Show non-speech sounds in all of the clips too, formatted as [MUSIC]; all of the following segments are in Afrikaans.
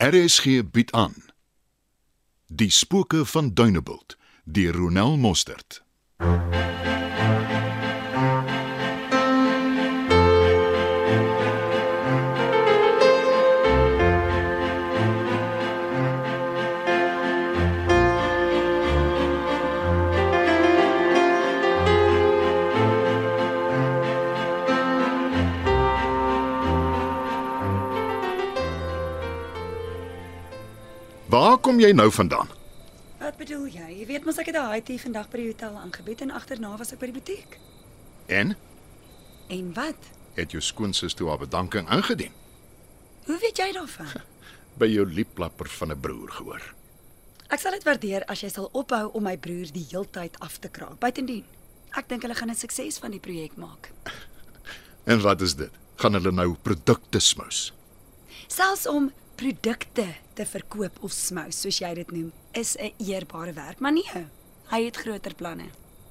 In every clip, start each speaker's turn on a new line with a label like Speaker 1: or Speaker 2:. Speaker 1: RSG bied aan Die spooke van Dunebuld deur Ronel Mostert. Waar kom jy nou vandaan?
Speaker 2: Wat bedoel jy? Jy weet mos ek het 'n Haiti vandag by die hotel aangebied en agterna was ek by die butiek.
Speaker 1: En
Speaker 2: En wat?
Speaker 1: het jou skoonsis toe haar bedanking ingedien
Speaker 2: Hoe weet jy daarvan?
Speaker 1: by jou liepplapper van 'n broer gehoor.
Speaker 2: Ek sal dit waardeer as jy sal ophou om my broer die heeltyd af te kraak. Buitendien, ek dink hulle gaan 'n sukses van die projek maak.
Speaker 1: En wat is dit? Gaan hulle nou produkte smous?
Speaker 2: Selfs om produkte te verkoop of smou, soos jy dit noem, is 'n eerbare werk, maar nee, hy het groter planne.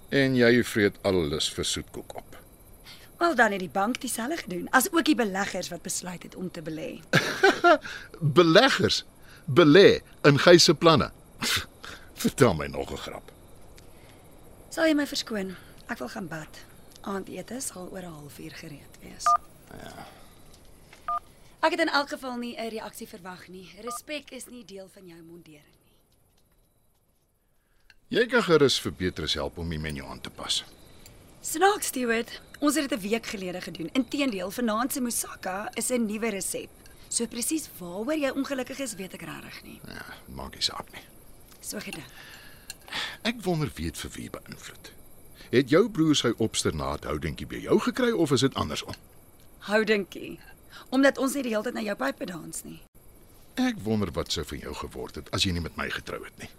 Speaker 1: En jy vreet alles vir soetkoek op.
Speaker 2: Wel dan het die bank dieselfde gedoen, as ook die beleggers wat besluit het om te belê.
Speaker 1: Beleggers belê in Gey se planne. [LAUGHS] Vertel my nog 'n grap.
Speaker 2: Sal jy my verskoon? Ek wil gaan bad. Aandete sal oor 'n halfuur gereed wees. Ek het in elk geval nie 'n reaksie verwag nie. Respek is nie deel van jou mondering nie.
Speaker 1: Jy kan gerus vir Petrus help om die menu aan te pas.
Speaker 2: Snaaks, Stewart. Ons het dit 'n week gelede gedoen. Inteendeel, vanaand se moussaka is 'n nuwe resep. So presies waaroor jy ongelukkig is, weet ek regtig nie.
Speaker 1: Ja, maak nie saak nie.
Speaker 2: So gedink.
Speaker 1: Ek wonder wie dit vir wie beïnvloed. Het jou broer sy obsternaat houdingkie by jou gekry of is dit andersom?
Speaker 2: Houdinkie. Omdat ons nie die hele tyd na jou pype dans nie.
Speaker 1: Ek wonder wat sou van jou geword het as jy nie met my getrou het nie.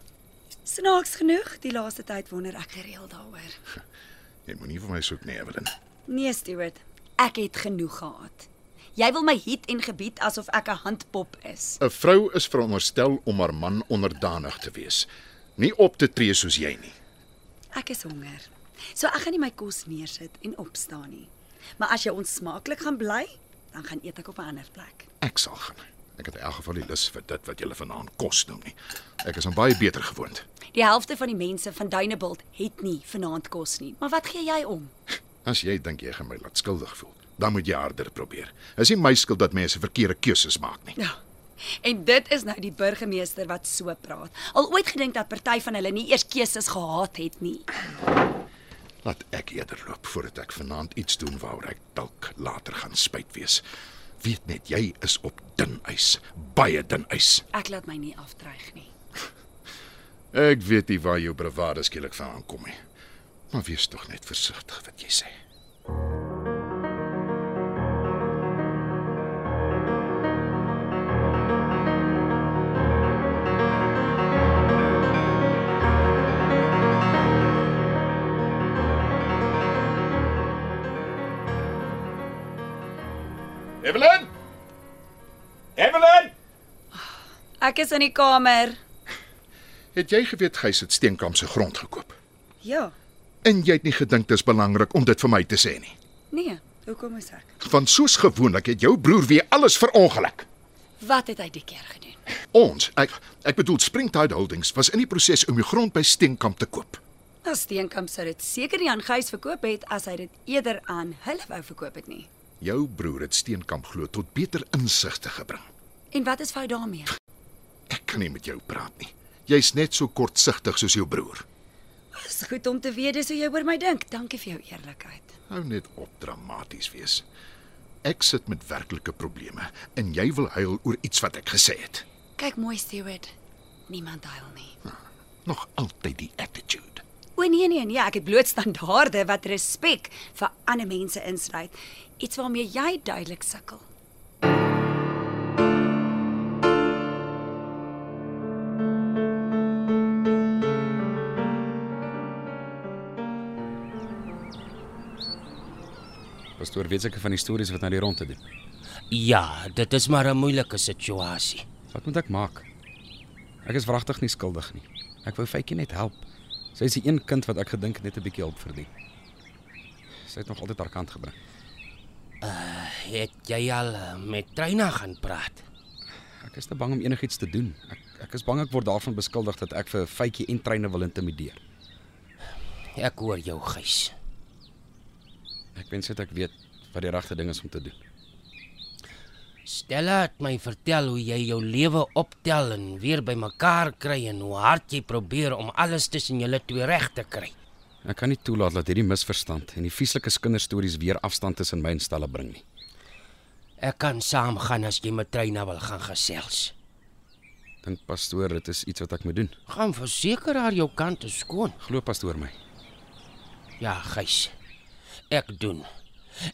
Speaker 2: Snaaks genoeg, die laaste tyd wonder ek gereeld daaroor.
Speaker 1: Jy moenie vir my soek nie, Evelyn.
Speaker 2: Nee, Stewart. Ek het genoeg gehad. Jy wil my hiet en gebied asof ek 'n handpop is.
Speaker 1: 'n Vrou is veronderstel om haar man onderdanig te wees, nie op te tree soos jy nie.
Speaker 2: Ek is honger. So ek gaan nie my kos neersit en opstaan nie. Maar as jy onsmaaklik gaan bly, dan gaan eet ek op 'n ander plek.
Speaker 1: Ek sal gaan. Ek het in elk geval die lus vir dit wat jy vanaand kos noem nie. Ek is aan baie beter gewoond.
Speaker 2: Die helfte van die mense van Dunebuld het nie vanaand kos nie. Maar wat gee jy om?
Speaker 1: As jy dink jy gaan my laat skuldig voel, dan moet jy harder probeer. Is nie my skuld dat mense verkeerde keuses maak nie.
Speaker 2: Ja. En dit is nou die burgemeester wat so praat. Al ooit gedink dat party van hulle nie eers keuses gehad het nie.
Speaker 1: Laat ek eerder loop voordat ek vanaand iets doen waaroor ek dalk later gaan spyt wees. Weet net jy is op dun ys, baie dun ys.
Speaker 2: Ek laat my nie aftreig nie.
Speaker 1: Ek weet nie waar jou bravade skielik vandaan kom nie. Maar wees tog net versigtig wat jy sê.
Speaker 3: Evelyn! Evelyn!
Speaker 2: Ek is in die kamer.
Speaker 1: Het jy geweet Gys het Steenkamp se grond gekoop?
Speaker 2: Ja.
Speaker 1: En jy het nie gedink dit is belangrik om dit vir my te sê nie.
Speaker 2: Nee, hoekom is ek?
Speaker 1: Want soos gewoonlik het jou broer weer alles verongeluk.
Speaker 2: Wat het hy die keer gedoen?
Speaker 1: Ons, ek ek bedoel Springtide Holdings was in die proses om die grond by Steenkamp te koop.
Speaker 2: Nou Steenkamp sou dit seker nie aan Gys verkoop het as hy dit eerder aan hulle wou verkoop het nie.
Speaker 1: Jou broer het Steenkamp glo tot beter insigte gebring.
Speaker 2: En wat is fout daarmee?
Speaker 1: Ek kan nie met jou praat nie. Jy's net so kortsigtig soos jou broer.
Speaker 2: Dis goed om te weet dis hoe jy oor my dink. Dankie vir jou eerlikheid.
Speaker 1: Hou net op dramaties wees. Ek sit met werklike probleme en jy wil huil oor iets wat ek gesê het.
Speaker 2: Kyk mooi Stewart. Niemand huil nie.
Speaker 1: Nog altyd die attitude.
Speaker 2: O nee nee nee, ek het bloot standaarde wat respek vir ander mense insluit, iets waarmee jy duidelik sukkel.
Speaker 3: Pastoor weet seker van die stories wat na die rondte doen.
Speaker 4: Ja, dit is maar 'n moeilike situasie.
Speaker 3: Wat moet ek maak? Ek is wragtig nie skuldig nie. Ek wou Faitjie net help. Sy is die een kind wat ek gedink het net 'n bietjie hulp verdien. Sy het nog altyd haar kant gebring.
Speaker 4: Het jy al eh, met Treyna gaan praat?
Speaker 3: Ek is te bang om enigiets te doen. Ek ek is bang ek word daarvan beskuldig dat ek vir Faitjie en Treine wil intimideer.
Speaker 4: Ek hoor jou, Gys.
Speaker 3: Ek wens net ek weet wat die regte ding is om te doen.
Speaker 4: Stella het my vertel hoe jy jou lewe optel en weer bymekaar kry en hoe hard jy probeer om alles tussen julle twee reg te kry.
Speaker 3: Ek kan nie toelaat dat hierdie misverstand en die vieslike kinderstories weer afstand tussen my en Stella bring nie.
Speaker 4: Ek kan saamgaan as jy met Treyna wil gaan gesels.
Speaker 3: Dink pastoor, dit is iets wat ek moet doen.
Speaker 4: Gaan verseker haar jou kant is skoon.
Speaker 3: Glo pastoor my.
Speaker 4: Ja, Gys. Ek doen.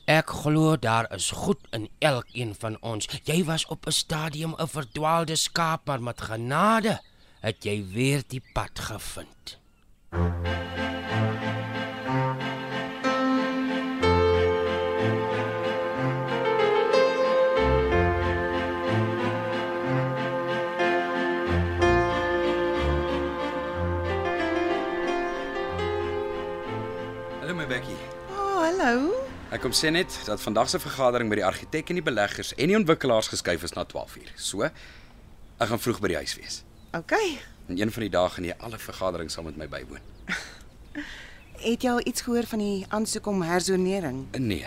Speaker 4: Ek glo daar is goed in elkeen van ons. Jy was op 'n stadium 'n verdwaalde skaap, maar met genade het jy weer die pad gevind.
Speaker 3: Hallo my Becky.
Speaker 5: Oh, hallo.
Speaker 3: Ek kom sê net dat vandag se vergadering met die argitek en die beleggers en die ontwikkelaars geskuif is na 12:00. So ek gaan vroeg by die huis wees.
Speaker 5: OK.
Speaker 3: En een van die dae gaan jy alle vergaderings saam met my bywoon.
Speaker 5: Het jy al iets gehoor van die aansoek om herzonering?
Speaker 3: Nee.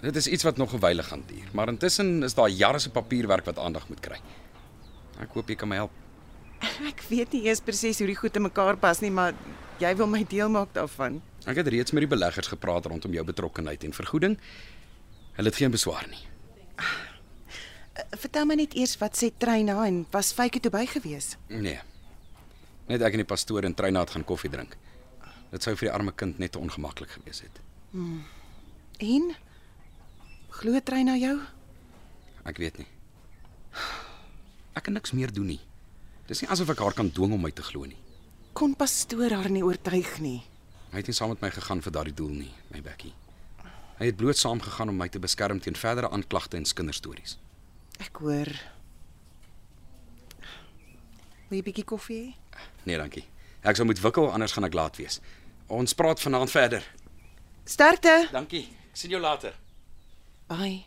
Speaker 3: Dit is iets wat nog 'n wyle gaan duur, maar intussen is daar jare se papierwerk wat aandag moet kry. Ek hoop jy kan my help.
Speaker 5: [LAUGHS] Ek weet nie eers presies hoe die goed in mekaar pas nie, maar jy wil my deel maak daarvan.
Speaker 3: Ek het reeds met die beleggers gepraat rondom jou betrokkeheid en vergoeding. Hulle het geen beswaar nie.
Speaker 5: Eh, Vertel my net eers wat sê Treina en was Faitjie toe by gewees?
Speaker 3: Nee. Net ek en die pastoor en Treynaat gaan koffie drink. Dit sou vir die arme kind net te ongemaklik gewees het.
Speaker 5: En glo Treina jou?
Speaker 3: Ek weet nie. Ek kan niks meer doen nie. Dis nie asof ek haar kan dwing om my te glo nie.
Speaker 5: Kon pastoor haar nie oortuig nie.
Speaker 3: Hy het nie saam met my gegaan vir daardie doel nie, my Becky. Hy het bloot saam gegaan om my te beskerm teen verdere aanklagte en kinderstories.
Speaker 5: Ek hoor. Wil jy 'n bietjie koffie hê?
Speaker 3: Nee, dankie. Ek sou moet wikkel anders gaan ek laat wees. Ons praat vanaand verder.
Speaker 5: Sterkte.
Speaker 3: Dankie. Ek sien jou later.
Speaker 5: Bye.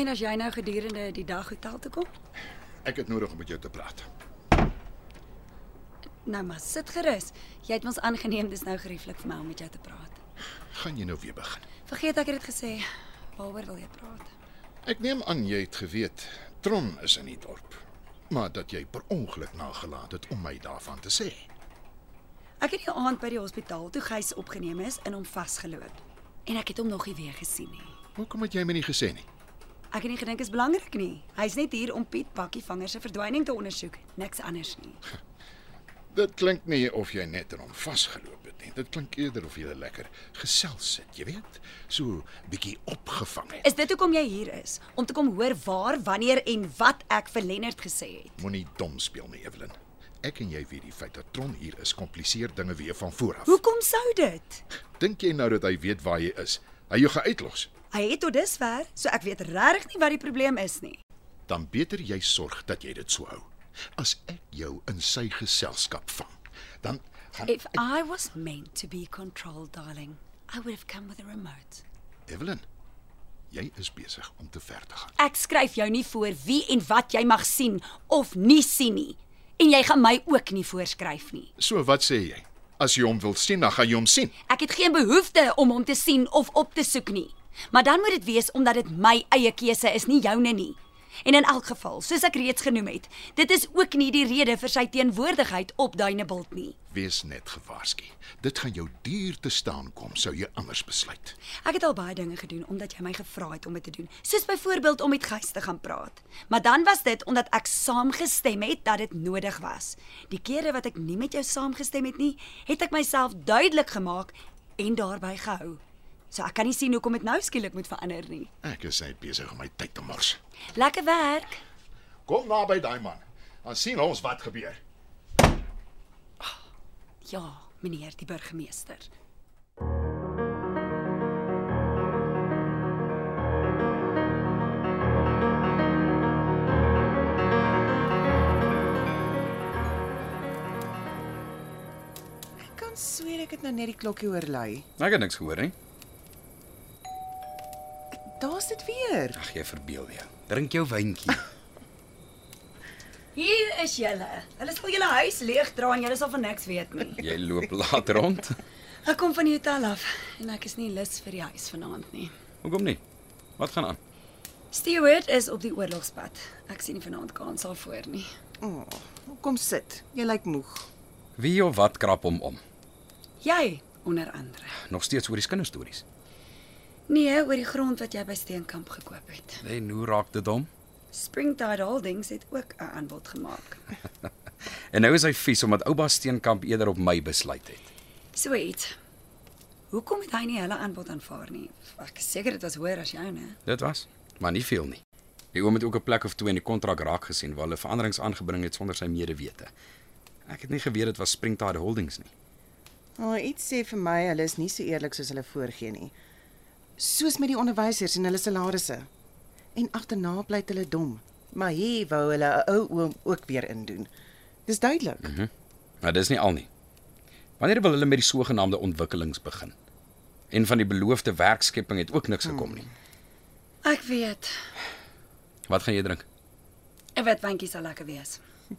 Speaker 2: En as jy nou gedurende die dag hotel toe kom,
Speaker 1: Ek het nodig om met jou te praat.
Speaker 2: nou maar sit gerus. Jy het ons aangeneem, dis nou gerieflik vir my om met jou te praat.
Speaker 1: Gaan jy nou weer begin?
Speaker 2: Vergeet ek het dit gesê. Waaroor wil jy praat?
Speaker 1: Ek neem aan jy het geweet Tron is in die dorp, maar dat jy per ongeluk nagelaat het om my daarvan te sê.
Speaker 2: Ek het die aand by die hospitaal toe Gys opgeneem is in hom vasgeloop. En ek het hom nog nie weer gesien nie.
Speaker 1: Hoekom het jy my nie gesê nie?
Speaker 2: Ek het nie gedink is belangrik nie. Hy's net hier om Piet Bakkievanger se verdwyning te ondersoek, niks anders nie.
Speaker 1: Dit klink nie of jy net aan hom vasgeloop het nie. Dit klink eerder of jy lekker gesels het, jy weet, so bietjie opgevang het.
Speaker 2: Is dit hoekom jy hier is? Om te kom hoor waar, wanneer en wat ek vir Lennard gesê het.
Speaker 1: Moenie dom speel nie, Evelyn. Ek en jy weet die feit dat Tron hier is kompliseer dinge weer van voor af.
Speaker 2: Hoekom sou dit?
Speaker 1: Dink jy nou dat hy weet waar jy is? Hy jou gaan uitlos.
Speaker 2: Hy het tot dusver, so ek weet regtig nie wat die probleem is nie.
Speaker 1: dan beter jy sorg dat jy dit so hou. As ek jou in sy geselskap vang, dan gaan
Speaker 2: If I was meant to be controlled, darling, I would have come with a remote.
Speaker 1: Evelyn, jy is besig om te ver te gaan.
Speaker 2: Ek skryf jou nie voor wie en wat jy mag sien of nie sien nie. En jy gaan my ook nie voorskryf nie.
Speaker 1: So wat sê jy? As jy hom wil sien, dan gaan jy hom sien.
Speaker 2: Ek het geen behoefte om hom te sien of op te soek nie. Maar dan moet dit wees omdat dit my eie keuse is, nie joune nie. En in elk geval, soos ek reeds genoem het, dit is ook nie die rede vir sy teenwoordigheid op Dunebuld nie.
Speaker 1: Wees net gewaarsku. Dit gaan jou duur te staan kom sou jy anders besluit.
Speaker 2: Ek het al baie dinge gedoen omdat jy my gevra het om dit te doen, soos byvoorbeeld om met Gys te gaan praat. Maar dan was dit omdat ek saamgestem het dat dit nodig was. Die kere wat ek nie met jou saamgestem het nie, het ek myself duidelik gemaak en daarby gehou. So ek kan nie sien hoekom dit nou skielik moet verander nie.
Speaker 1: Ek is net besig om my tyd te mors.
Speaker 2: Lekker werk.
Speaker 1: Kom naby daai man. Dan sien ons wat gebeur.
Speaker 2: Ja, meneer die burgemeester.
Speaker 5: sweer ek het nou net die klokkie oorlei.
Speaker 3: Ek het niks gehoor nie.
Speaker 5: Daar's dit weer.
Speaker 3: Ag jy verbeel jou. Drink jou [LAUGHS] wyntjie.
Speaker 2: Hier is julle. Hulle sal julle huis leeg dra en julle sal van niks weet nie.
Speaker 3: Jy loop laat rond.
Speaker 2: Ek kom van die hotel af en ek is nie lus vir die huis vanaand nie.
Speaker 3: Hoekom nie? Wat gaan aan?
Speaker 2: Stewart is op die oorlogspad. Ek sien nie vanaand kans daarvoor nie.
Speaker 5: Oh, kom sit. Jy lyk moeg.
Speaker 3: Wie of wat krap hom om?
Speaker 2: Jy onder andere.
Speaker 3: Nog steeds oor die kinderstories.
Speaker 2: Nee, oor die grond wat jy by Steenkamp gekoop het.
Speaker 3: En hoe raak dit hom?
Speaker 2: Springtide Holdings het ook 'n aanbod gemaak.
Speaker 3: En nou is hy vies omdat Oupa Steenkamp eerder op my besluit het.
Speaker 2: So iets. Hoekom het hy nie hulle aanbod aanvaar nie? Ek is seker dit was hoër as joune.
Speaker 3: Dit was, maar nie veel nie. Die oom het ook 'n plek of twee in die kontrak raak gesien waar hulle veranderings aangebring het sonder sy medewete. Ek het nie geweet dit was Springtide Holdings nie.
Speaker 5: Maar oh, iets sê vir my hulle is nie so eerlik soos hulle voorgee nie. Soos met die onderwysers en hulle salarisse. En agterna bly dit hulle dom. Maar hier wou hulle 'n ou oom ook weer indoen. Dis duidelik. Mm -hmm.
Speaker 3: Maar dis nie al nie. Wanneer wil hulle met die sogenaamde ontwikkelings begin? En van die beloofde werkskepping het ook niks gekom nie.
Speaker 2: Ek weet.
Speaker 3: Wat gaan jy drink?
Speaker 2: 'n Wit wyntjie sal lekker wees. [LAUGHS]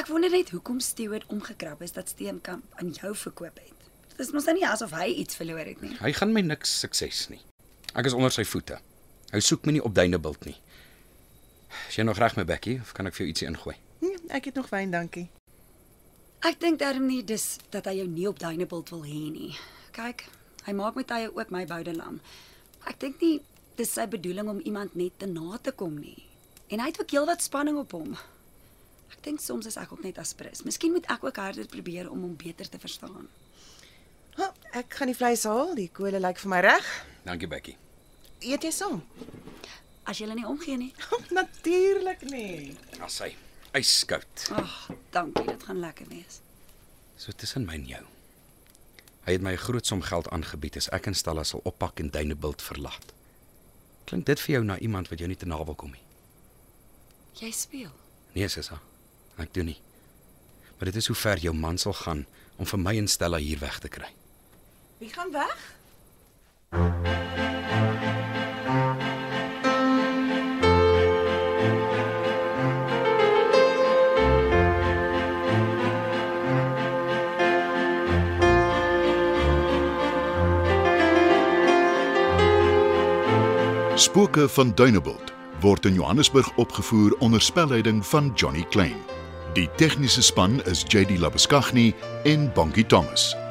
Speaker 2: Ek wonder net hoekom Stewart omgekrap is dat Steenkamp aan jou verkoop het. Dit is mos nou nie asof hy iets verloor het nie.
Speaker 3: Hy gaan my niks sukses nie. Ek is onder sy voete. Hy soek my nie op duinebilt nie. Is jy nog reg met Becky of kan ek vir jou ietsie ingooi?
Speaker 5: Hm, ek het nog wyn, dankie.
Speaker 2: Ek dink darm nie dis dat hy jou nie op Duinebult wil hê nie. Kyk, hy maak met tye ook my boudelam. Ek dink nie dis sy bedoeling om iemand net te na te kom nie. En hy het ook heelwat spanning op hom. Ek dink soms is ek ook net aspres. Miskien moet ek ook harder probeer om hom beter te verstaan.
Speaker 5: Oh, ek gaan die vleis haal. Die kole lyk vir my reg.
Speaker 3: Dankie Becky.
Speaker 5: Eet jy saam? [LAUGHS]
Speaker 2: As jy nie omgee nie.
Speaker 5: Natuurlik nie.
Speaker 3: As hy yskoud.
Speaker 2: Ag, dankie, dit gaan lekker wees.
Speaker 3: So tussen my en jou. Hy het my 'n groot som geld aangebied as ek instel as sal oppak en Duinebilt verlaat. Klink dit vir jou na iemand wat jou nie te na wil kom nie?
Speaker 2: Jy speel.
Speaker 3: Nee, Sissa. Ek doen nie. Maar dit is hoe ver jou man sal gaan om vir my en Stella hier weg te kry.
Speaker 5: Wie gaan weg?
Speaker 1: Spooke van Dunebuld word in Johannesburg opgevoer onder spelleiding van Johnny Clane. Die tegniese span is JD Labuskaghni en Bongie Thomas.